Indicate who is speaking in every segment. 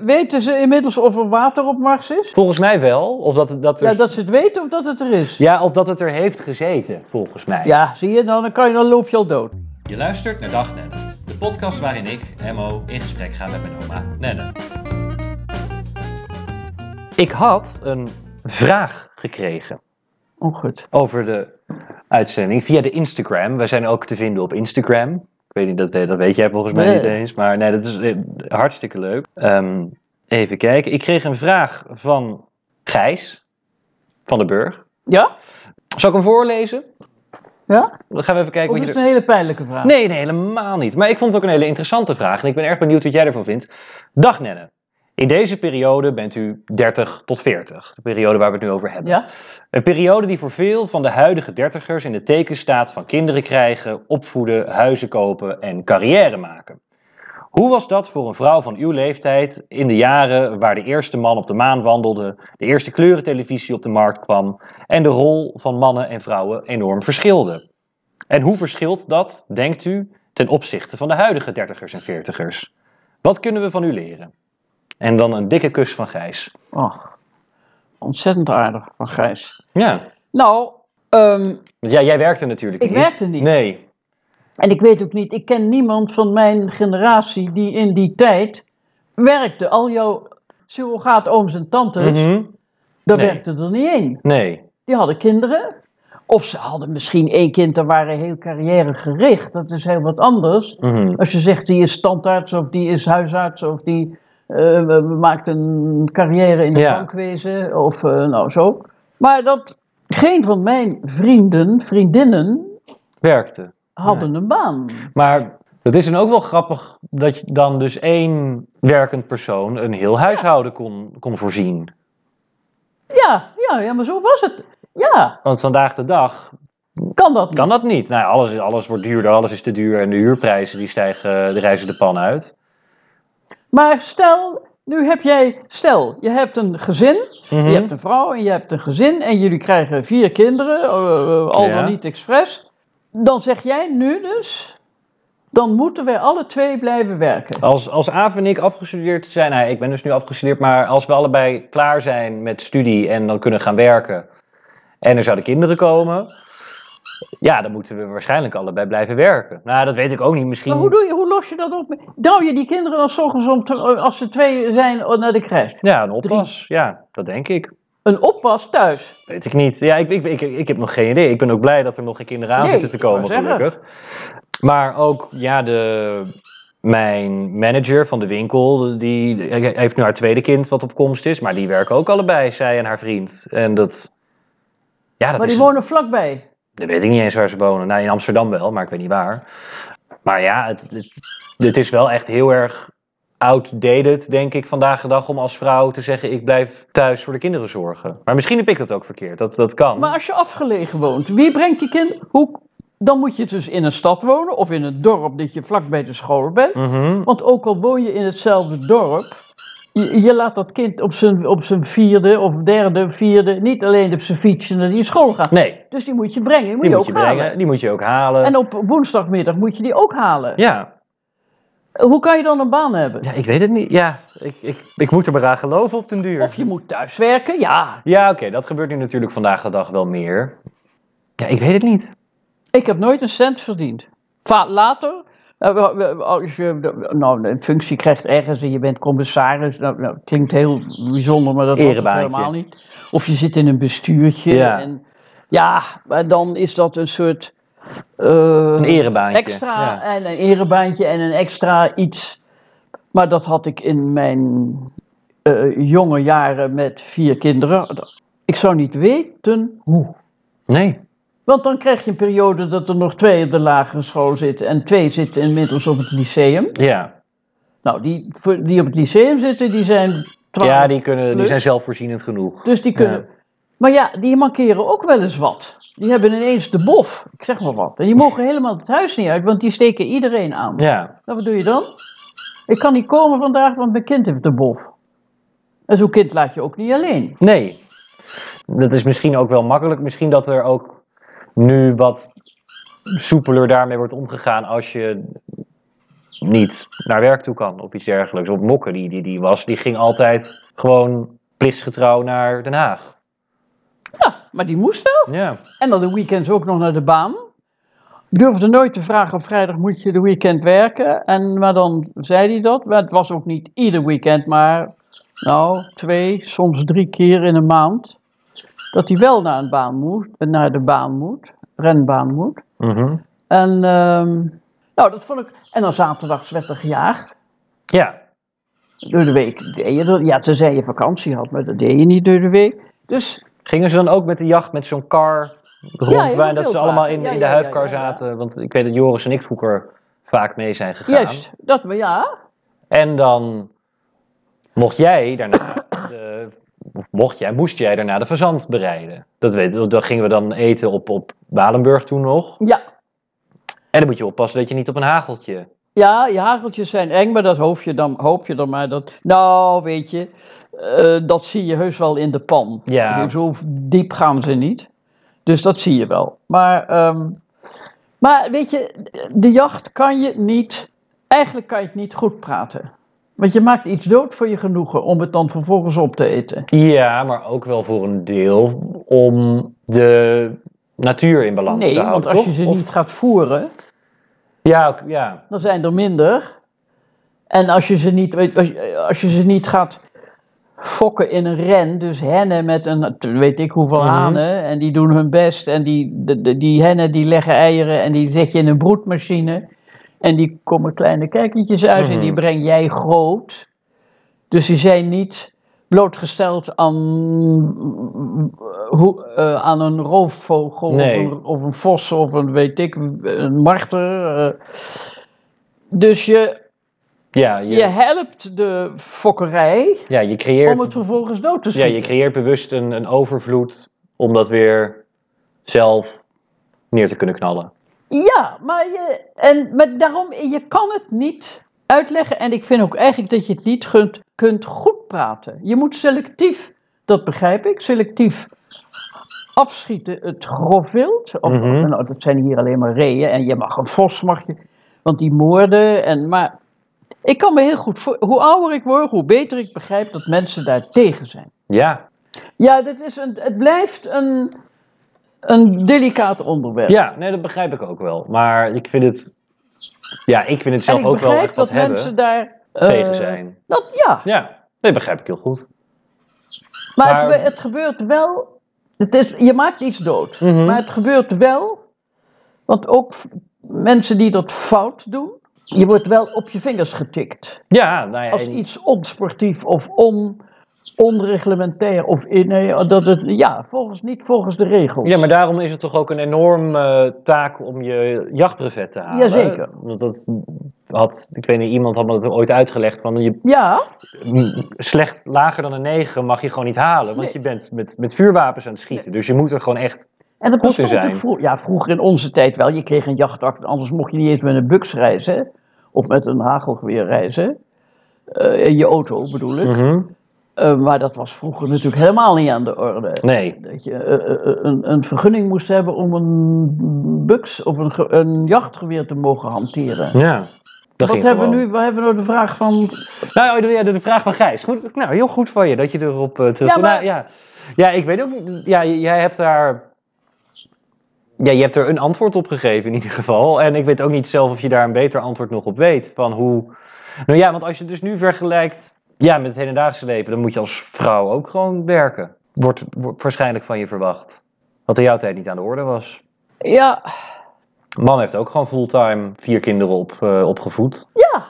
Speaker 1: weten ze inmiddels of er water op Mars is?
Speaker 2: Volgens mij wel. Of dat, dat er,
Speaker 1: Ja, dat ze het weten of dat het er is.
Speaker 2: ja, of dat het er heeft gezeten, volgens mij.
Speaker 1: Ja, zie je, dan, kan je, dan loop je al dood.
Speaker 3: Je luistert naar Dag Nenne, de podcast waarin ik, Mo, in gesprek ga met mijn oma Nenne.
Speaker 2: Ik had een vraag gekregen
Speaker 1: Oh, goed.
Speaker 2: over de uitzending via de Instagram. Wij zijn ook te vinden op Instagram. Ik weet niet, dat, weet- dat weet jij volgens mij
Speaker 1: Nee.
Speaker 2: niet eens. Maar nee, dat is eh, hartstikke leuk. Ehm, even kijken. Ik kreeg een vraag van Gijs van den Burg.
Speaker 1: Ja?
Speaker 2: Zal ik hem voorlezen?
Speaker 1: Ja?
Speaker 2: Dan gaan we even kijken
Speaker 1: Of
Speaker 2: wat
Speaker 1: is
Speaker 2: je
Speaker 1: het een hele pijnlijke vraag?
Speaker 2: Nee, nee, helemaal niet. Maar ik vond het ook een hele interessante vraag en ik ben erg benieuwd wat jij ervan vindt. Dag Nenne. In deze periode bent u 30 tot 40, de periode waar we het nu over hebben.
Speaker 1: Ja?
Speaker 2: Een periode die voor veel van de huidige dertigers in de teken staat van kinderen krijgen, opvoeden, huizen kopen en carrière maken. Hoe was dat voor een vrouw van uw leeftijd in de jaren waar de eerste man op de maan wandelde, de eerste kleurentelevisie op de markt kwam en de rol van mannen en vrouwen enorm verschilde? En hoe verschilt dat, denkt u, ten opzichte van de huidige dertigers en veertigers? Wat kunnen we van u leren? En dan een dikke kus van Gijs.
Speaker 1: Oh, ontzettend aardig van Gijs.
Speaker 2: Ja,
Speaker 1: Nou, ehm,
Speaker 2: want jij, jij werkte natuurlijk
Speaker 1: Ik
Speaker 2: niet.
Speaker 1: werkte niet.
Speaker 2: Nee,
Speaker 1: en ik weet ook niet, ik ken niemand van mijn generatie die in die tijd werkte. Al jouw surrogaatooms en tantes,
Speaker 2: Mhm.
Speaker 1: daar
Speaker 2: nee.
Speaker 1: werkte er niet één.
Speaker 2: Nee.
Speaker 1: Die hadden kinderen. Of ze hadden misschien één kind en waren heel carrièregericht. Dat is heel wat anders.
Speaker 2: Mhm.
Speaker 1: Als je zegt die is standaards of die is huisarts of die eh, we- we maakt een carrière in de
Speaker 2: Ja.
Speaker 1: bankwezen of eh, nou zo. Maar dat geen van mijn vrienden, vriendinnen
Speaker 2: Werkte.
Speaker 1: hadden een baan.
Speaker 2: Maar het is dan ook wel grappig dat je dan dus één werkend persoon een heel huishouden kon, kon voorzien.
Speaker 1: Ja, ja, ja, maar zo was het. Ja,
Speaker 2: Want vandaag de dag
Speaker 1: kan dat niet?
Speaker 2: kan dat niet. Nou, ja, alles, is- alles wordt duurder, alles is te duur en de huurprijzen die stijgen, de reizen de pan uit.
Speaker 1: Maar stel, nu heb jij, stel, je hebt een gezin
Speaker 2: Mhm.
Speaker 1: Je hebt een vrouw en je hebt een gezin en jullie krijgen vier kinderen, eh, eh, al
Speaker 2: Ja.
Speaker 1: dan niet expres. Dan zeg jij nu dus, dan moeten wij alle twee blijven werken.
Speaker 2: Als, als Aaf en ik afgestudeerd zijn, nou, ik ben dus nu afgestudeerd, maar als we allebei klaar zijn met studie en dan kunnen gaan werken en er zouden kinderen komen, ja, dan moeten we waarschijnlijk allebei blijven werken. Nou, dat weet ik ook niet. Misschien.
Speaker 1: Maar hoe, doe je, hoe los je dat op? Douw je die kinderen dan 's ochtends om te- als ze twee zijn oh, naar de crash?
Speaker 2: Ja, een oppas. Ja, dat denk ik.
Speaker 1: Een oppas thuis.
Speaker 2: Weet ik niet. Ja, ik, ik, ik, ik heb nog geen idee. Ik ben ook blij dat er nog geen kinderen aan
Speaker 1: Nee,
Speaker 2: zitten te
Speaker 1: ik wou
Speaker 2: komen,
Speaker 1: zeggen.
Speaker 2: gelukkig. Maar ook, ja, de, mijn manager van de winkel, die die heeft nu haar tweede kind wat op komst is. Maar die werken ook allebei, zij en haar vriend. En dat... Ja, dat
Speaker 1: maar
Speaker 2: is...
Speaker 1: die wonen vlakbij.
Speaker 2: Dat weet ik niet eens waar ze wonen. Nou, in Amsterdam wel, maar ik weet niet waar. Maar ja, het, het, het is wel echt heel erg outdated, denk ik, vandaag de dag om als vrouw te zeggen: ik blijf thuis voor de kinderen zorgen. Maar misschien heb ik dat ook verkeerd. Dat, dat kan.
Speaker 1: Maar als je afgelegen woont, wie brengt die kinderen? Hoe, dan moet je dus in een stad wonen of in een dorp dat je vlakbij de school bent.
Speaker 2: Mhm.
Speaker 1: Want ook al woon je in hetzelfde dorp, je, je laat dat kind op zijn, op zijn vierde of derde, vierde, niet alleen op zijn fietsje naar die school gaan.
Speaker 2: Nee,
Speaker 1: Dus die moet je brengen, die moet
Speaker 2: die
Speaker 1: je
Speaker 2: moet
Speaker 1: ook
Speaker 2: je
Speaker 1: halen.
Speaker 2: brengen, die moet je ook halen.
Speaker 1: En op woensdagmiddag moet je die ook halen.
Speaker 2: ja.
Speaker 1: Hoe kan je dan een baan hebben?
Speaker 2: ja, ik weet het niet. Ja, ik, ik, ik moet er maar aan geloven op den duur.
Speaker 1: Of je moet thuiswerken, ja.
Speaker 2: Ja, oké, dat gebeurt nu natuurlijk vandaag de dag wel meer. Ja, ik weet het niet.
Speaker 1: Ik heb nooit een cent verdiend. Va- Later, eh, we- we- als je nou, een functie krijgt ergens en je bent commissaris, nou, nou klinkt heel bijzonder, maar dat was het
Speaker 2: Erebaantje.
Speaker 1: helemaal niet. Of je zit in een bestuurtje.
Speaker 2: Ja.
Speaker 1: En, ja, maar dan is dat een soort. eh,
Speaker 2: Een erebaantje.
Speaker 1: extra
Speaker 2: Ja.
Speaker 1: en een erebaantje en een extra iets. Maar dat had ik in mijn eh, jonge jaren met vier kinderen. Ik zou niet weten hoe.
Speaker 2: Nee.
Speaker 1: Want dan krijg je een periode dat er nog twee op de lagere school zitten en twee zitten inmiddels op het lyceum.
Speaker 2: Ja,
Speaker 1: Nou, die, voor- die op het lyceum zitten, die zijn twaalf.
Speaker 2: ja die, kunnen, die
Speaker 1: plus.
Speaker 2: zijn zelfvoorzienend genoeg.
Speaker 1: Dus die kunnen. Maar ja, die mankeren ook wel eens wat. Die hebben ineens de bof, ik zeg maar wat. En die mogen helemaal het huis niet uit, want die steken iedereen aan.
Speaker 2: Ja.
Speaker 1: Nou, wat doe je dan? Ik kan niet komen vandaag, want mijn kind heeft de bof. En zo'n kind laat je ook niet alleen.
Speaker 2: Nee. Dat is misschien ook wel makkelijk. Misschien dat er ook nu wat soepeler daarmee wordt omgegaan als je niet naar werk toe kan of iets dergelijks. Op Mokke, die, die, die was, die ging altijd gewoon plichtsgetrouw naar Den Haag.
Speaker 1: Ja, maar die moest wel.
Speaker 2: Ja,
Speaker 1: En dan de weekends ook nog naar de baan. Ik durfde nooit te vragen op vrijdag moet je de weekend werken. En, maar dan zei hij dat. Maar het was ook niet ieder weekend, maar nou, twee, soms drie keer in een maand. Dat hij wel naar, een baan moet, naar de baan moet, renbaan moet.
Speaker 2: Mhm.
Speaker 1: En ehm, nou, dat vond ik. En dan zaterdags werd er gejaagd.
Speaker 2: ja.
Speaker 1: Door de week deed je dat. Ja, tenzij je vakantie had, maar dat deed je niet door de week. Dus
Speaker 2: Gingen ze dan ook met de jacht met zo'n kar rond
Speaker 1: Ja, ja,
Speaker 2: bij,
Speaker 1: met
Speaker 2: dat ze
Speaker 1: wildwagen.
Speaker 2: allemaal in,
Speaker 1: Ja,
Speaker 2: in de
Speaker 1: ja, ja,
Speaker 2: huifkar
Speaker 1: ja, ja.
Speaker 2: zaten? Want ik weet dat Joris en ik vroeger vaak mee zijn gegaan.
Speaker 1: juist, dat we ja.
Speaker 2: En dan mocht jij daarna, de, of mocht jij, moest jij daarna de verzand bereiden. Dat weten we, dat gingen we dan eten op, op Walenburg toen nog.
Speaker 1: Ja,
Speaker 2: En dan moet je oppassen dat je niet op een hageltje.
Speaker 1: Ja, je hageltjes zijn eng, maar dat hoop je dan, hoop je dan maar. Dat, nou, weet je, eh, dat zie je heus wel in de pan.
Speaker 2: Ja.
Speaker 1: Zo diep gaan ze niet. Dus dat zie je wel. Maar, ehm, maar weet je, de jacht kan je niet, eigenlijk kan je het niet goed praten. Want je maakt iets dood voor je genoegen om het dan vervolgens op te eten.
Speaker 2: Ja, maar ook wel voor een deel om de natuur in balans
Speaker 1: Nee,
Speaker 2: te houden.
Speaker 1: want als je
Speaker 2: toch?
Speaker 1: ze
Speaker 2: Of-
Speaker 1: niet gaat voeren,
Speaker 2: Ja, ook- ja.
Speaker 1: dan zijn er minder. En als je ze niet, weet- als je, als je ze niet gaat fokken in een ren, dus hennen met een, weet ik hoeveel
Speaker 2: Mhm.
Speaker 1: hanen, en die doen hun best, en die, de- de- die hennen die leggen eieren en die zet je in een broedmachine, en die komen kleine kijkertjes uit en die
Speaker 2: Mhm.
Speaker 1: breng jij groot. Dus die zijn niet blootgesteld aan, hoe, eh, aan een roofvogel
Speaker 2: Nee.
Speaker 1: of, een, of een vos of een weet ik, een marter. eh. Dus je,
Speaker 2: Ja, je,
Speaker 1: je helpt de fokkerij
Speaker 2: ja, je creëert,
Speaker 1: om het vervolgens dood te
Speaker 2: ja,
Speaker 1: schieten.
Speaker 2: je creëert bewust een, een overvloed om dat weer zelf neer te kunnen knallen.
Speaker 1: Ja, maar, je, en, maar daarom, je kan het niet uitleggen. En ik vind ook eigenlijk dat je het niet kunt, kunt goed praten. Je moet selectief, dat begrijp ik, selectief afschieten het grof wild. Of,
Speaker 2: Mhm.
Speaker 1: nou, dat zijn hier alleen maar reeën. En je mag een vos, mag je. Want die moorden. En, maar ik kan me heel goed voor. Hoe ouder ik word, hoe beter ik begrijp dat mensen daar tegen zijn.
Speaker 2: Ja,
Speaker 1: Ja, dit is een, het blijft een, een delicaat onderwerp.
Speaker 2: ja nee, dat begrijp ik ook wel. Maar ik vind het, ja, ik vind het zelf
Speaker 1: en ik
Speaker 2: ook wel
Speaker 1: begrijp
Speaker 2: echt wat
Speaker 1: dat
Speaker 2: hebben
Speaker 1: mensen daar eh,
Speaker 2: tegen zijn.
Speaker 1: Dat, ja,
Speaker 2: Ja, nee, begrijp ik heel goed.
Speaker 1: maar,
Speaker 2: Maar-
Speaker 1: het, gebe- het gebeurt wel. Het is, je maakt iets dood,
Speaker 2: Mhm.
Speaker 1: maar het gebeurt wel. Want ook f- mensen die dat fout doen, je wordt wel op je vingers getikt.
Speaker 2: Ja, nou ja,
Speaker 1: Als
Speaker 2: en-
Speaker 1: iets onsportief of on, onreglementair of in, nee, dat het, ja, volgens, niet volgens de regels.
Speaker 2: Ja, maar daarom is het toch ook een enorme eh, taak om je jachtbrevet te halen.
Speaker 1: Jazeker.
Speaker 2: Want dat had, ik weet niet, iemand had me dat ooit uitgelegd. Van je,
Speaker 1: Ja,
Speaker 2: slecht lager dan een 9 mag je gewoon niet halen. Want
Speaker 1: Nee.
Speaker 2: je bent met, met vuurwapens aan het schieten. Dus je moet er gewoon echt.
Speaker 1: en dat
Speaker 2: Goed
Speaker 1: bestond
Speaker 2: te zijn.
Speaker 1: natuurlijk vroeg- ja, vroeger in onze tijd wel. Je kreeg een jachtact, anders mocht je niet eens met een buks reizen. hè, Of met een hagelgeweer reizen. Eh, in je auto bedoel ik.
Speaker 2: Mhm.
Speaker 1: Eh, maar dat was vroeger natuurlijk helemaal niet aan de orde.
Speaker 2: Nee.
Speaker 1: Dat je eh, eh, een, een vergunning moest hebben om een buks of een, ge- een jachtgeweer te mogen hanteren.
Speaker 2: Ja. Dat
Speaker 1: Wat
Speaker 2: ging
Speaker 1: hebben we
Speaker 2: gewoon.
Speaker 1: nu? We hebben nou de vraag van.
Speaker 2: Nou ja, de, de vraag van Gijs. Goed, nou, heel goed van je dat je erop eh, terug...
Speaker 1: Ja, maar-
Speaker 2: Nou, ja. ja, ik weet ook niet... Ja, j- jij hebt daar... Ja, je hebt er een antwoord op gegeven in ieder geval. En ik weet ook niet zelf of je daar een beter antwoord nog op weet. Van hoe... Nou ja, want als je het dus nu vergelijkt ja, met het hedendaagse leven... dan moet je als vrouw ook gewoon werken. Wordt, wordt waarschijnlijk van je verwacht. Wat in jouw tijd niet aan de orde was.
Speaker 1: Ja,
Speaker 2: Man heeft ook gewoon fulltime vier kinderen op, eh, opgevoed.
Speaker 1: ja.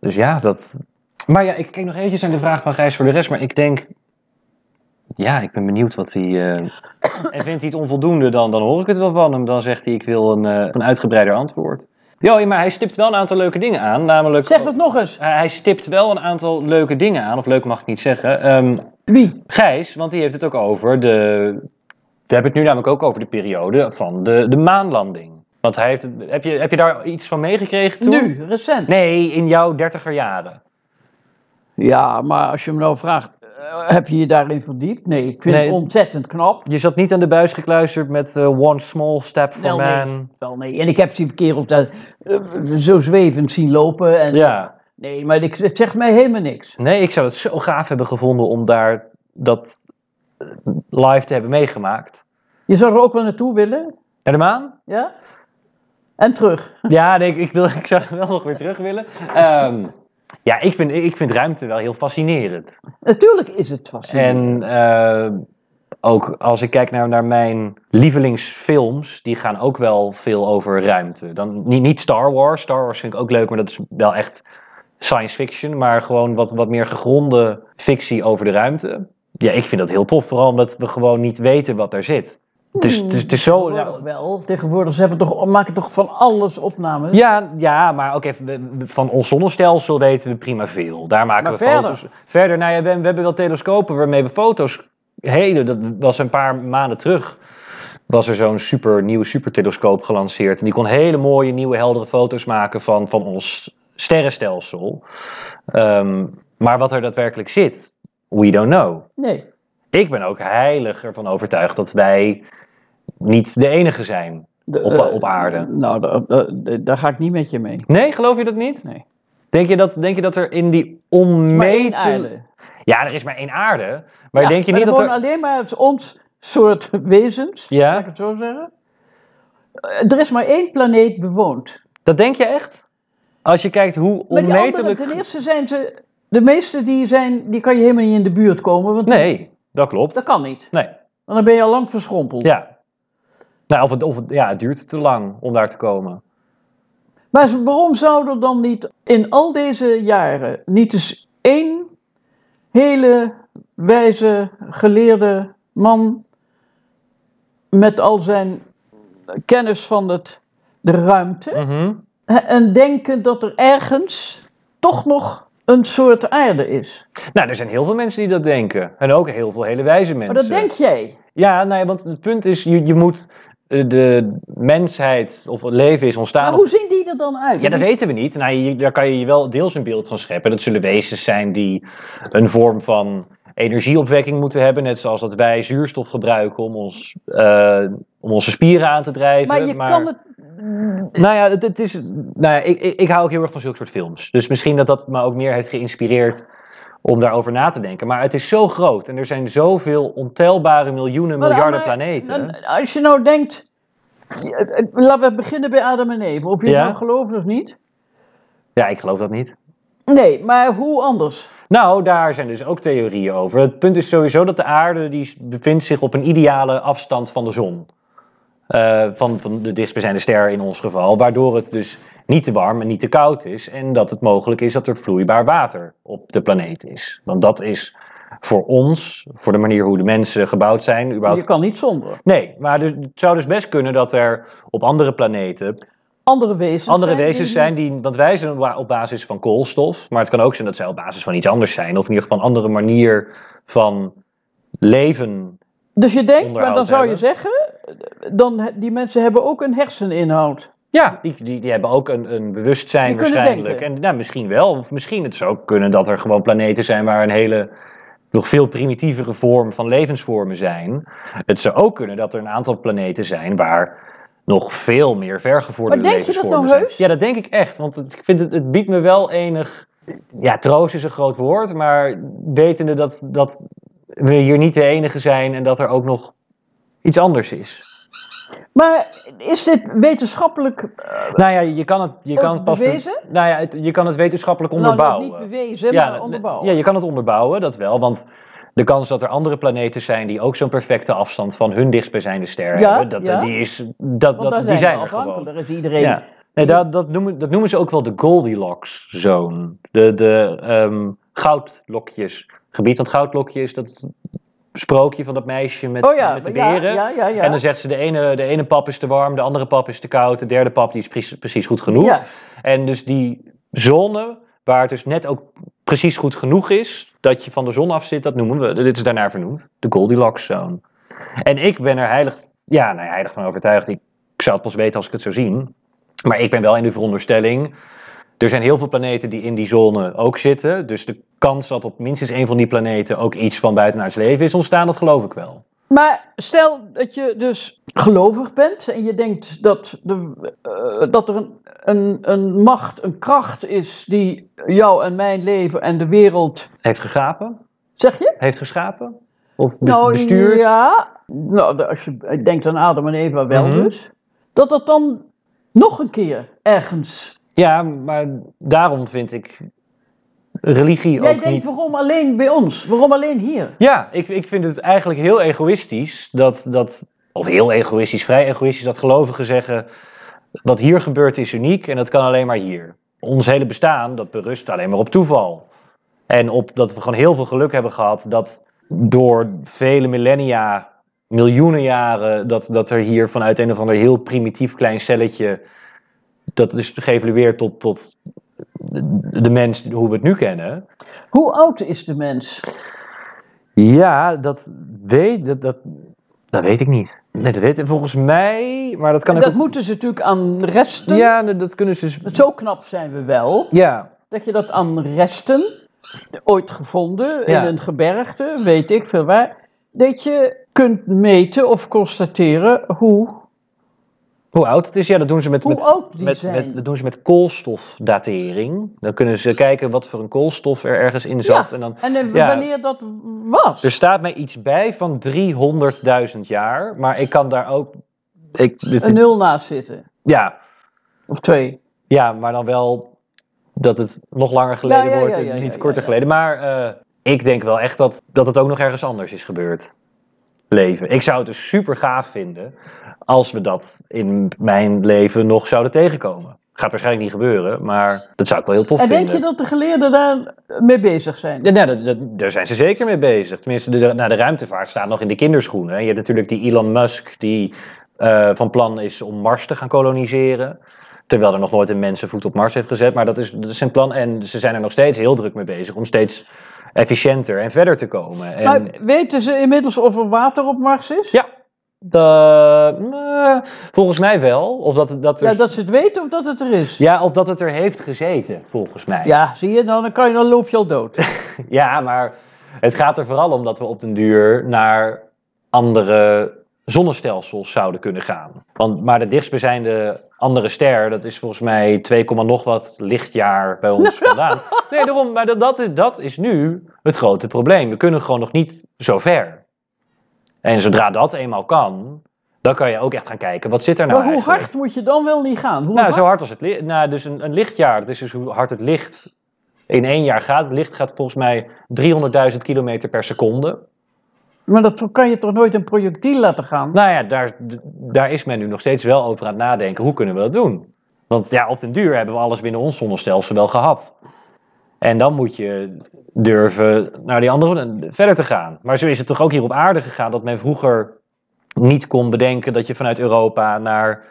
Speaker 2: Dus ja, dat. Maar ja, ik kijk nog eventjes naar de vraag van Gijs voor de rest. Maar ik denk. Ja, ik ben benieuwd wat hij. eh, En vindt hij het onvoldoende, dan, dan hoor ik het wel van hem. Dan zegt hij: Ik wil een, eh, een uitgebreider antwoord. Jo, ja, maar hij stipt wel een aantal leuke dingen aan. Namelijk.
Speaker 1: Zeg dat nog eens.
Speaker 2: Hij hij stipt wel een aantal leuke dingen aan. Of leuk mag ik niet zeggen. Ehm,
Speaker 1: Wie?
Speaker 2: Gijs, want die heeft het ook over de. We hebben het nu namelijk ook over de periode van de, de maanlanding. Want hij heeft het, heb, je, heb je daar iets van meegekregen toen?
Speaker 1: Nu, recent.
Speaker 2: Nee, in jouw dertiger jaren.
Speaker 1: Ja, maar als je me nou vraagt, eh, eh, heb je je daarin verdiept? Nee, ik vind
Speaker 2: Nee.
Speaker 1: het ontzettend knap.
Speaker 2: Je zat niet aan de buis gekluisterd met eh, One Small Step for
Speaker 1: Wel nee.
Speaker 2: Man.
Speaker 1: Wel nee. En ik heb die kerels daar eh, zo zwevend zien lopen. En,
Speaker 2: Ja.
Speaker 1: Nee, maar ik, het zegt mij helemaal niks.
Speaker 2: Nee, ik zou het zo gaaf hebben gevonden om daar dat eh, live te hebben meegemaakt.
Speaker 1: Je zou er ook wel naartoe willen,
Speaker 2: Naar de maan?
Speaker 1: ja? En terug.
Speaker 2: Ja, nee, ik, ik, wil, ik zou wel nog weer terug willen. Ehm, ja, ik vind, ik vind ruimte wel heel fascinerend.
Speaker 1: Natuurlijk is het fascinerend.
Speaker 2: En eh, ook als ik kijk naar, naar mijn lievelingsfilms, die gaan ook wel veel over ruimte. Dan, niet, niet Star Wars, Star Wars vind ik ook leuk, maar dat is wel echt science fiction. Maar gewoon wat, wat meer gegronde fictie over de ruimte. Ja, ik vind dat heel tof, vooral omdat we gewoon niet weten wat er zit. Het is, het is, het is zo...
Speaker 1: Tegenwoordig wel. Tegenwoordig ze hebben toch, maken toch van alles opnames.
Speaker 2: Ja, ja, maar ook even, we- we- van ons zonnestelsel weten we prima veel. Daar maken
Speaker 1: Maar
Speaker 2: we
Speaker 1: verder?
Speaker 2: foto's. Verder, nou ja, we, we hebben wel telescopen waarmee we foto's. Hele, dat was een paar maanden terug. Was er zo'n super nieuw supertelescoop gelanceerd. En die kon hele mooie, nieuwe, heldere foto's maken van, van ons sterrenstelsel. Ehm, maar wat er daadwerkelijk zit, we don't know.
Speaker 1: Nee.
Speaker 2: Ik ben ook heilig ervan overtuigd dat wij niet de enige zijn.
Speaker 1: De,
Speaker 2: Op-
Speaker 1: eh,
Speaker 2: op aarde.
Speaker 1: Nou, da- da- da- daar ga ik niet met je mee.
Speaker 2: Nee, geloof je dat niet?
Speaker 1: Nee.
Speaker 2: Denk je dat, denk je dat er in die
Speaker 1: Maar één
Speaker 2: onmeten...
Speaker 1: aarde.
Speaker 2: Ja, er is maar één aarde. Maar
Speaker 1: Ja,
Speaker 2: denk je
Speaker 1: maar
Speaker 2: niet
Speaker 1: er
Speaker 2: dat er...
Speaker 1: wonen alleen maar het- ons soort wezens,
Speaker 2: Ja?
Speaker 1: laat ik het zo zeggen. Eh, Er is maar één planeet bewoond.
Speaker 2: Dat denk je echt? Als je kijkt hoe
Speaker 1: Maar die andere,
Speaker 2: onmetelijk...
Speaker 1: ten eerste zijn ze... De meeste die zijn, die kan je helemaal niet in de buurt komen, want
Speaker 2: Nee, dat klopt.
Speaker 1: dat kan niet.
Speaker 2: Nee,
Speaker 1: Want dan ben je al lang verschrompeld.
Speaker 2: ja. Nou, of het, of het, ja, het duurt te lang om daar te komen.
Speaker 1: Maar ze- waarom zou er dan niet in al deze jaren niet eens één hele wijze geleerde man met al zijn kennis van het, de ruimte
Speaker 2: Mhm.
Speaker 1: hè, en denken dat er ergens toch nog een soort aarde is?
Speaker 2: Nou, er zijn heel veel mensen die dat denken. En ook heel veel hele wijze mensen.
Speaker 1: Maar dat denk jij.
Speaker 2: Ja, nee, want het punt is, je, je moet... eh, De mensheid of het leven is ontstaan...
Speaker 1: Maar
Speaker 2: op
Speaker 1: hoe zien die er dan uit?
Speaker 2: Ja, dat weten we niet. Nou, je- daar kan je je wel deels een beeld van scheppen. Dat zullen wezens zijn die een vorm van energieopwekking moeten hebben. Net zoals dat wij zuurstof gebruiken om, ons, eh, om onze spieren aan te drijven.
Speaker 1: Maar je kan het.
Speaker 2: Nou ja, het, het is, nou ja ik, ik, ik hou ook heel erg van zulke soort films. Dus misschien dat dat me ook meer heeft geïnspireerd om daarover na te denken. Maar het is zo groot en er zijn zoveel ontelbare miljoenen,
Speaker 1: Maar-
Speaker 2: miljarden
Speaker 1: maar-
Speaker 2: planeten.
Speaker 1: dan- Als je nou denkt. ja, eh, Laten we beginnen bij Adam en Eve. Of je
Speaker 2: Ja.
Speaker 1: het nou gelooft of niet.
Speaker 2: Ja, ik geloof dat niet.
Speaker 1: Nee, maar hoe anders?
Speaker 2: Nou, daar zijn dus ook theorieën over. Het punt is sowieso dat de aarde die bevindt zich op een ideale afstand van de zon. Eh, van, van de dichtstbijzijnde ster in ons geval. Waardoor het dus niet te warm en niet te koud is. En dat het mogelijk is dat er vloeibaar water op de planeet is. Want dat is voor ons, voor de manier hoe de mensen gebouwd zijn.
Speaker 1: Je
Speaker 2: Überhaupt...
Speaker 1: kan niet zonder.
Speaker 2: Nee, maar er- het zou dus best kunnen dat er op andere planeten
Speaker 1: Andere wezens.
Speaker 2: andere
Speaker 1: zijn
Speaker 2: wezens
Speaker 1: die-
Speaker 2: zijn die, want wij zijn op wa- op basis van koolstof, maar het kan ook zijn dat zij op basis van iets anders zijn, of in ieder geval een andere manier van leven.
Speaker 1: Dus je denkt, maar
Speaker 2: onderhoud
Speaker 1: dan zou je
Speaker 2: hebben.
Speaker 1: zeggen. Dan, he- die mensen hebben ook een herseninhoud.
Speaker 2: Ja, die, die, die hebben ook een, een bewustzijn
Speaker 1: Die kunnen
Speaker 2: waarschijnlijk.
Speaker 1: denken.
Speaker 2: En nou, misschien wel, of misschien het zou ook kunnen dat er gewoon planeten zijn waar een hele, nog veel primitievere vorm van levensvormen zijn. Het zou ook kunnen dat er een aantal planeten zijn waar nog veel meer vergevorderde
Speaker 1: Maar denk je dat
Speaker 2: levensvormen
Speaker 1: nou
Speaker 2: zijn.
Speaker 1: heus?
Speaker 2: Ja, dat denk ik echt, want het, ik vind het, het biedt me wel enig... Ja, troost is een groot woord, maar wetende dat, dat we hier niet de enige zijn en dat er ook nog iets anders is.
Speaker 1: Maar is dit wetenschappelijk eh,
Speaker 2: Nou ja, je kan het, je kan het
Speaker 1: ook
Speaker 2: pas...
Speaker 1: Oh, bewezen?
Speaker 2: Nou ja, het- je kan het wetenschappelijk
Speaker 1: Nou,
Speaker 2: onderbouwen.
Speaker 1: niet bewezen,
Speaker 2: ja,
Speaker 1: maar
Speaker 2: dat-
Speaker 1: onderbouwen.
Speaker 2: Ja, je kan het onderbouwen, dat wel. Want de kans dat er andere planeten zijn die ook zo'n perfecte afstand van hun dichtstbijzijnde ster
Speaker 1: Ja,
Speaker 2: hebben, dat,
Speaker 1: ja.
Speaker 2: die, is, dat,
Speaker 1: Want
Speaker 2: dat,
Speaker 1: daar
Speaker 2: die zijn
Speaker 1: we
Speaker 2: er gewoon.
Speaker 1: afhankelijk. Er is iedereen.
Speaker 2: Ja. Nee, dat, dat, noemen, dat noemen ze ook wel de Goldilocks-zone. De, de ehm goudlokjesgebied. Want goudlokje is dat sprookje van dat meisje met,
Speaker 1: oh ja,
Speaker 2: met de
Speaker 1: ja,
Speaker 2: beren.
Speaker 1: Ja, ja, ja.
Speaker 2: En dan zegt ze, de ene, de ene pap is te warm, de andere pap is te koud, de derde pap die is precies, precies goed genoeg.
Speaker 1: Ja.
Speaker 2: En dus die zone, waar het dus net ook precies goed genoeg is, dat je van de zon af zit, dat noemen we, dit is daarnaar vernoemd, de Goldilocks zone. En ik ben er heilig, ja, nou, ja, heilig van overtuigd. Ik, ik zou het pas weten als ik het zou zien. Maar ik ben wel in de veronderstelling Er zijn heel veel planeten die in die zone ook zitten. Dus de kans dat op minstens één van die planeten ook iets van buitenaards leven is ontstaan, dat geloof ik wel.
Speaker 1: Maar stel dat je dus gelovig bent en je denkt dat, de, eh, dat er een, een, een macht, een kracht is die jou en mijn leven en de wereld.
Speaker 2: Heeft gegapen?
Speaker 1: Zeg je?
Speaker 2: Heeft geschapen? Of be-
Speaker 1: nou,
Speaker 2: bestuurd?
Speaker 1: Ja. Nou, de- als je denkt aan Adam en Eva wel
Speaker 2: Mhm.
Speaker 1: dus. Dat dat dan nog een keer ergens.
Speaker 2: Ja, maar daarom vind ik religie
Speaker 1: Jij
Speaker 2: ook
Speaker 1: denkt
Speaker 2: niet...
Speaker 1: waarom alleen bij ons? Waarom alleen hier?
Speaker 2: Ja, ik, ik vind het eigenlijk heel egoïstisch dat, dat, of heel egoïstisch, vrij egoïstisch, dat gelovigen zeggen wat hier gebeurt is uniek en dat kan alleen maar hier. Ons hele bestaan, dat berust alleen maar op toeval. En op dat we gewoon heel veel geluk hebben gehad dat door vele millennia, miljoenen jaren, dat, dat er hier vanuit een of ander heel primitief klein celletje, dat is geëvalueerd tot, tot de, de mens hoe we het nu kennen.
Speaker 1: Hoe oud is de mens?
Speaker 2: Ja, dat weet, dat, dat, dat weet ik niet. Nee, dat weet ik volgens mij, maar dat kan
Speaker 1: En
Speaker 2: ik
Speaker 1: dat
Speaker 2: ook-
Speaker 1: moeten ze natuurlijk aan resten.
Speaker 2: Ja, dat- dat kunnen ze... dus-
Speaker 1: Zo knap zijn we wel.
Speaker 2: Ja,
Speaker 1: dat je dat aan resten, ooit gevonden
Speaker 2: Ja.
Speaker 1: in een gebergte, weet ik veel waar, dat je kunt meten of constateren hoe,
Speaker 2: hoe oud het is, ja, dat doen ze met...
Speaker 1: hoe
Speaker 2: met,
Speaker 1: oud die
Speaker 2: met,
Speaker 1: zijn.
Speaker 2: met- dat doen ze met koolstofdatering. Dan kunnen ze kijken wat voor een koolstof er ergens in
Speaker 1: Ja.
Speaker 2: zat. En dan,
Speaker 1: en dan
Speaker 2: ja. Dus-
Speaker 1: wanneer dat was.
Speaker 2: er staat mij iets bij van 300.000 jaar, maar ik kan daar ook... Ik, dit-
Speaker 1: een nul naast zitten.
Speaker 2: ja,
Speaker 1: Of twee.
Speaker 2: Ja, maar dan wel dat het nog langer geleden
Speaker 1: Ja, ja,
Speaker 2: wordt
Speaker 1: ja,
Speaker 2: en
Speaker 1: ja, ja,
Speaker 2: niet
Speaker 1: ja,
Speaker 2: korter
Speaker 1: ja.
Speaker 2: geleden. Maar eh, ik denk wel echt dat, dat het ook nog ergens anders is gebeurd. Leven. Ik zou het dus super gaaf vinden als we dat in mijn leven nog zouden tegenkomen. Gaat waarschijnlijk niet gebeuren, maar dat zou ik wel heel tof
Speaker 1: En denk
Speaker 2: vinden.
Speaker 1: je dat de geleerden daar mee bezig zijn?
Speaker 2: Ja, nou, dat, dat- daar zijn ze zeker mee bezig. Tenminste, de, de- nou, de ruimtevaart staat nog in de kinderschoenen. hè. Je hebt natuurlijk die Elon Musk die eh, van plan is om Mars te gaan koloniseren. Terwijl er nog nooit een mens zijn voet op Mars heeft gezet. Maar dat is, dat is zijn plan. En ze zijn er nog steeds heel druk mee bezig om steeds efficiënter en verder te komen. En,
Speaker 1: Maar weten ze inmiddels of er water op Mars is?
Speaker 2: Ja, eh, nou, volgens mij wel. Of dat, dat, er-
Speaker 1: Ja, dat ze het weten of dat het er is?
Speaker 2: dus- ja, of dat het er heeft gezeten, volgens mij.
Speaker 1: Ja, zie je, dan, dan, kan je, dan loop je al dood.
Speaker 2: Ja, maar het gaat er vooral om dat we op den duur naar andere zonnestelsels zouden kunnen gaan. Want, maar de dichtstbijzijnde andere ster, dat is volgens mij 2, komma nog wat lichtjaar bij ons vandaan. Nee, daarom, maar dat, dat, is, dat is nu het grote probleem. We kunnen gewoon nog niet zo ver. En zodra dat eenmaal kan, dan kan je ook echt gaan kijken, wat zit er nou
Speaker 1: maar hoe
Speaker 2: eigenlijk?
Speaker 1: hard moet je dan wel niet gaan? Hoe
Speaker 2: Nou,
Speaker 1: hard?
Speaker 2: zo hard als het licht. Nou, dus een, een lichtjaar, dat is dus hoe hard het licht in één jaar gaat. Het licht gaat volgens mij 300.000 kilometer per seconde.
Speaker 1: Maar dat kan je toch nooit een projectiel laten gaan?
Speaker 2: Nou ja, daar, d- daar is men nu nog steeds wel over aan het nadenken. Hoe kunnen we dat doen? Want ja, op den duur hebben we alles binnen ons zonnestelsel wel gehad. En dan moet je durven naar die andere verder te gaan. Maar zo is het toch ook hier op aarde gegaan dat men vroeger niet kon bedenken dat je vanuit Europa naar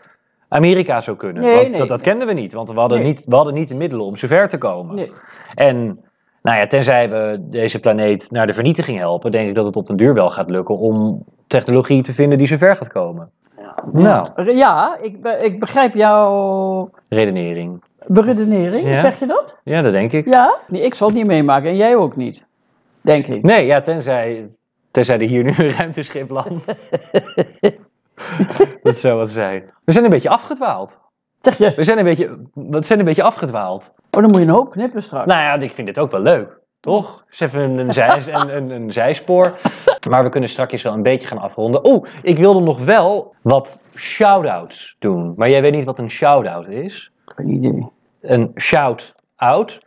Speaker 2: Amerika zou kunnen.
Speaker 1: Nee,
Speaker 2: want
Speaker 1: nee,
Speaker 2: dat, dat
Speaker 1: nee.
Speaker 2: kenden we niet, want we hadden,
Speaker 1: Nee.
Speaker 2: niet, we hadden niet de middelen om zo ver te komen.
Speaker 1: Nee.
Speaker 2: En nou ja, tenzij we deze planeet naar de vernietiging helpen, denk ik dat het op den duur wel gaat lukken om technologie te vinden die zo ver gaat komen. Nou,
Speaker 1: Ja, ik, be- ik begrijp jouw
Speaker 2: redenering.
Speaker 1: beredenering,
Speaker 2: Ja.
Speaker 1: zeg je dat?
Speaker 2: Ja, dat denk ik.
Speaker 1: Ja? Nee, ik zal het niet meemaken en jij ook niet, denk ik.
Speaker 2: Nee, ja, tenzij, tenzij er hier nu een ruimteschip landt. dat zou wat zijn. We zijn een beetje afgedwaald.
Speaker 1: Zeg je,
Speaker 2: We zijn een beetje, we zijn een beetje afgedwaald.
Speaker 1: oh, dan moet je een hoop knippen straks.
Speaker 2: Nou ja, ik vind dit ook wel leuk. Toch? Is even een, een, zij, een, een, een zijspoor. Maar we kunnen straks wel een beetje gaan afronden. Oeh, ik wilde nog wel wat shout-outs doen. Maar jij weet niet wat een shout-out is.
Speaker 1: Geen idee.
Speaker 2: Een shout-out.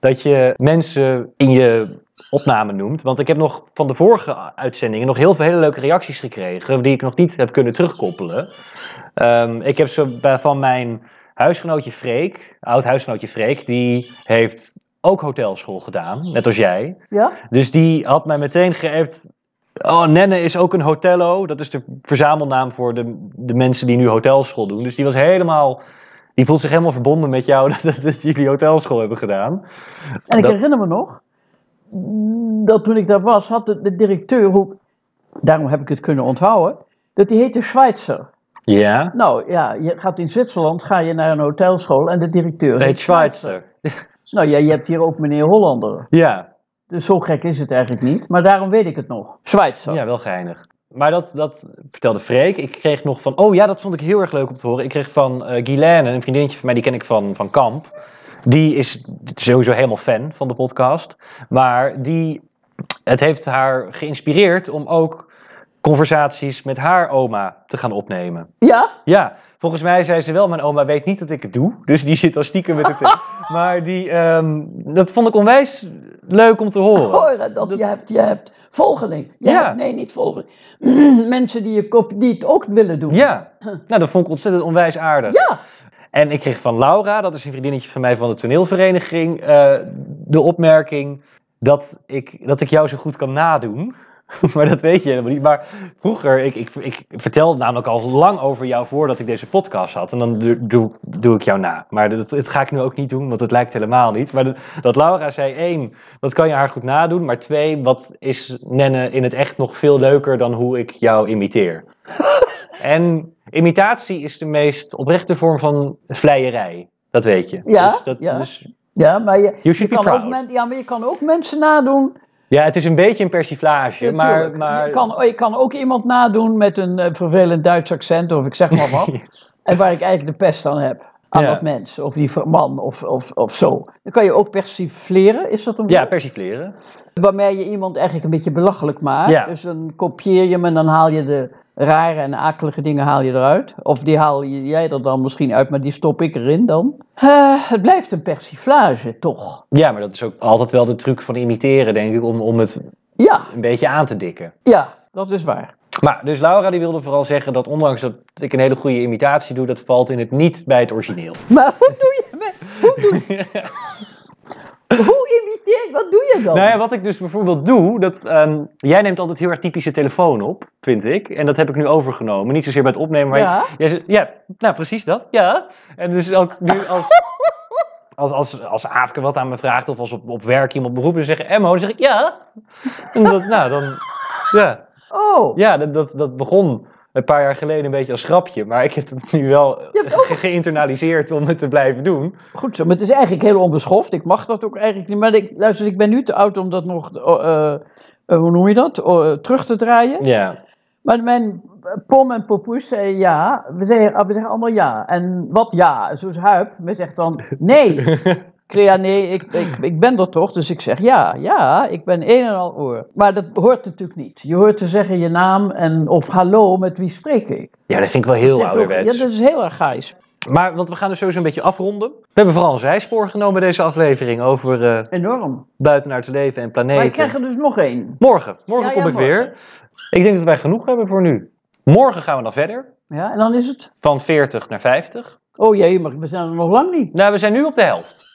Speaker 2: Dat je mensen in je opname noemt. Want ik heb nog van de vorige uitzendingen nog heel veel hele leuke reacties gekregen. Die ik nog niet heb kunnen terugkoppelen. Ehm, ik heb zo bij- van mijn huisgenootje Freek, oud huisgenootje Freek, die heeft ook hotelschool gedaan, net als jij.
Speaker 1: Ja?
Speaker 2: Dus die had mij meteen geappt. Oh, Nenne is ook een hotello. Dat is de verzamelnaam voor de, de mensen die nu hotelschool doen. Dus die was helemaal. Die voelt zich helemaal verbonden met jou dat, dat, dat jullie hotelschool hebben gedaan.
Speaker 1: En ik
Speaker 2: Dat-
Speaker 1: herinner me nog, mm, dat toen ik daar was, had de, de directeur, hoe, daarom heb ik het kunnen onthouden, dat die heette Schweitzer.
Speaker 2: Ja.
Speaker 1: Nou ja, je gaat in Zwitserland, ga je naar een hotelschool en de directeur
Speaker 2: Heet Schweitzer.
Speaker 1: Nou ja, je hebt hier ook meneer Hollander.
Speaker 2: Ja,
Speaker 1: Dus zo gek is het eigenlijk niet. Maar daarom weet ik het nog. Zwitser.
Speaker 2: ja, wel geinig. Maar dat, dat vertelde Freek. Ik kreeg nog van. Oh ja, dat vond ik heel erg leuk om te horen. Ik kreeg van eh Guylaine, een vriendinnetje van mij, die ken ik van, van Kamp. Die is sowieso helemaal fan van de podcast. Maar die, het heeft haar geïnspireerd om ook conversaties met haar oma te gaan opnemen.
Speaker 1: Ja?
Speaker 2: Ja, volgens mij zei ze wel, mijn oma weet niet dat ik het doe. Dus die zit al stiekem met het... maar die, ehm, dat vond ik onwijs leuk om te horen.
Speaker 1: Hoor dat, je hebt, je hebt volgeling. Je
Speaker 2: Ja.
Speaker 1: hebt- nee, niet volgeling. Mensen die, je kop, die het ook willen doen.
Speaker 2: Ja, nou dat vond ik ontzettend onwijs aardig.
Speaker 1: Ja.
Speaker 2: En ik kreeg van Laura, dat is een vriendinnetje van mij van de toneelvereniging, eh, de opmerking dat ik, dat ik jou zo goed kan nadoen. maar dat weet je helemaal niet. Maar vroeger, ik, ik, ik vertelde namelijk al lang over jou voordat ik deze podcast had. En dan doe, doe, doe ik jou na. Maar dat, dat ga ik nu ook niet doen, want het lijkt helemaal niet. Maar dat- dat Laura zei, één, dat kan je haar goed nadoen. Maar twee, wat is Nenne in het echt nog veel leuker dan hoe ik jou imiteer. en imitatie is de meest oprechte vorm van vleierij. Dat weet je.
Speaker 1: Ja,
Speaker 2: Dus dat,
Speaker 1: ja.
Speaker 2: dus
Speaker 1: Ja, maar je,
Speaker 2: You should
Speaker 1: je
Speaker 2: be
Speaker 1: kan
Speaker 2: proud.
Speaker 1: ook men- ja, maar je kan ook mensen nadoen.
Speaker 2: Ja, het is een beetje een persiflage,
Speaker 1: Ja,
Speaker 2: maar...
Speaker 1: tuurlijk.
Speaker 2: maar...
Speaker 1: Je, kan, je kan ook iemand nadoen met een eh, vervelend Duits accent of ik zeg maar wat. en waar ik eigenlijk de pest aan heb. Aan
Speaker 2: Ja.
Speaker 1: dat mens of die man of, of, of zo. Dan kan je ook persifleren, is dat een
Speaker 2: Ja,
Speaker 1: woord?
Speaker 2: persifleren.
Speaker 1: Waarmee je iemand eigenlijk een beetje belachelijk maakt.
Speaker 2: Ja.
Speaker 1: Dus dan kopieer je hem en dan haal je de rare en akelige dingen haal je eruit. Of die haal je- jij er dan misschien uit, maar die stop ik erin dan. Eh, het blijft een persiflage, toch?
Speaker 2: Ja, maar dat is ook altijd wel de truc van imiteren, denk ik, om, om het
Speaker 1: Ja,
Speaker 2: een beetje aan te dikken.
Speaker 1: ja, dat is waar.
Speaker 2: Maar, dus Laura die wilde vooral zeggen dat ondanks dat ik een hele goede imitatie doe, dat valt in het niet bij het origineel.
Speaker 1: Maar hoe doe je me- Hoe, doe, hoe imiteer je? Wat doe je dan?
Speaker 2: Nou ja, wat ik dus bijvoorbeeld doe, dat, ehm, jij neemt altijd heel erg typische telefoon op, vind ik. En dat heb ik nu overgenomen. Niet zozeer bij het opnemen, maar
Speaker 1: Ja.
Speaker 2: Jij zegt, ja, nou precies dat, ja. En dus ook nu als, als, als, als Aafke wat aan me vraagt of als op, op werk iemand beroep en zeggen Emmo, dan zeg ik ja. En dat, nou, dan, ja,
Speaker 1: Oh,
Speaker 2: ja dat, dat, dat begon een paar jaar geleden een beetje als grapje, maar ik heb het nu wel
Speaker 1: Je hebt ook-
Speaker 2: ge- geïnternaliseerd om het te blijven doen.
Speaker 1: goed zo. Maar het is eigenlijk heel onbeschoft. Ik mag dat ook eigenlijk niet. Maar ik, luister, ik ben nu te oud om dat nog, eh, eh, hoe noem je dat, Eh, terug te draaien.
Speaker 2: Ja,
Speaker 1: Maar mijn pom en popoes zeiden ja. We zeggen, we zeggen allemaal ja. En wat ja? Zoals Huip, we zegt dan nee. Ik zeg, ja, nee, ik, ik, ik ben er toch, dus ik zeg ja, ja, ik ben een en al oor. Maar dat hoort natuurlijk niet. Je hoort te zeggen je naam en of hallo, met wie spreek ik.
Speaker 2: ja dat vind ik wel heel
Speaker 1: Zegt ook-
Speaker 2: ouderwets.
Speaker 1: ja, dat is heel erg gaais.
Speaker 2: Maar, want we gaan dus sowieso een beetje afronden. We hebben vooral een zijspoor genomen deze aflevering over eh
Speaker 1: Enorm.
Speaker 2: buiten naar te leven en planeten.
Speaker 1: Maar ik krijg er dus nog één.
Speaker 2: Morgen, morgen
Speaker 1: Ja,
Speaker 2: kom
Speaker 1: ja,
Speaker 2: ik weer. Ik denk dat wij genoeg hebben voor nu. Morgen gaan we dan verder.
Speaker 1: Ja, en dan is het.
Speaker 2: Van 40 naar 50.
Speaker 1: Oh jee, maar we zijn er nog lang niet.
Speaker 2: Nou, we zijn nu op de helft.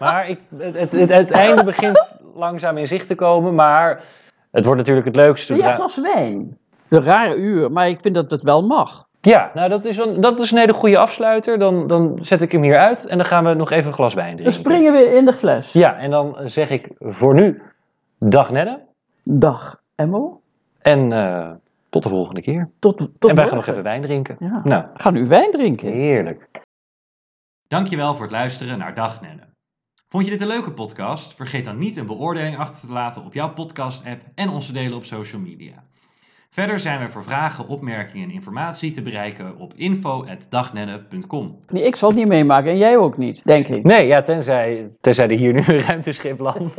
Speaker 2: maar ik, het, het, het, het einde begint langzaam in zicht te komen. Maar het wordt natuurlijk het leukste.
Speaker 1: Wil jij een glas wijn? De rare uur, maar ik vind dat het wel mag.
Speaker 2: Ja, nou dat is, een, dat is een hele goede afsluiter. Dan, dan zet ik hem hier uit en dan gaan we nog even een glas
Speaker 1: Dan
Speaker 2: wijn drinken.
Speaker 1: springen we in de fles.
Speaker 2: Ja, en dan zeg ik voor nu dag Nenne.
Speaker 1: Dag, Emmo.
Speaker 2: En eh, tot de volgende keer.
Speaker 1: Tot, tot
Speaker 2: en wij gaan nog
Speaker 1: morgen.
Speaker 2: even wijn drinken.
Speaker 1: Ja.
Speaker 2: Nou,
Speaker 1: Ga nu wijn drinken.
Speaker 2: heerlijk.
Speaker 3: Dankjewel voor het luisteren naar Dag Nenne. Vond je dit een leuke podcast? Vergeet dan niet een beoordeling achter te laten op jouw podcast-app en ons te delen op social media. Verder zijn we voor vragen, opmerkingen en informatie te bereiken op info.dagnenne.com.
Speaker 1: Nee, ik zal het niet meemaken en jij ook niet, denk ik.
Speaker 2: Nee, ja, tenzij, tenzij er hier nu een ruimteschip landt.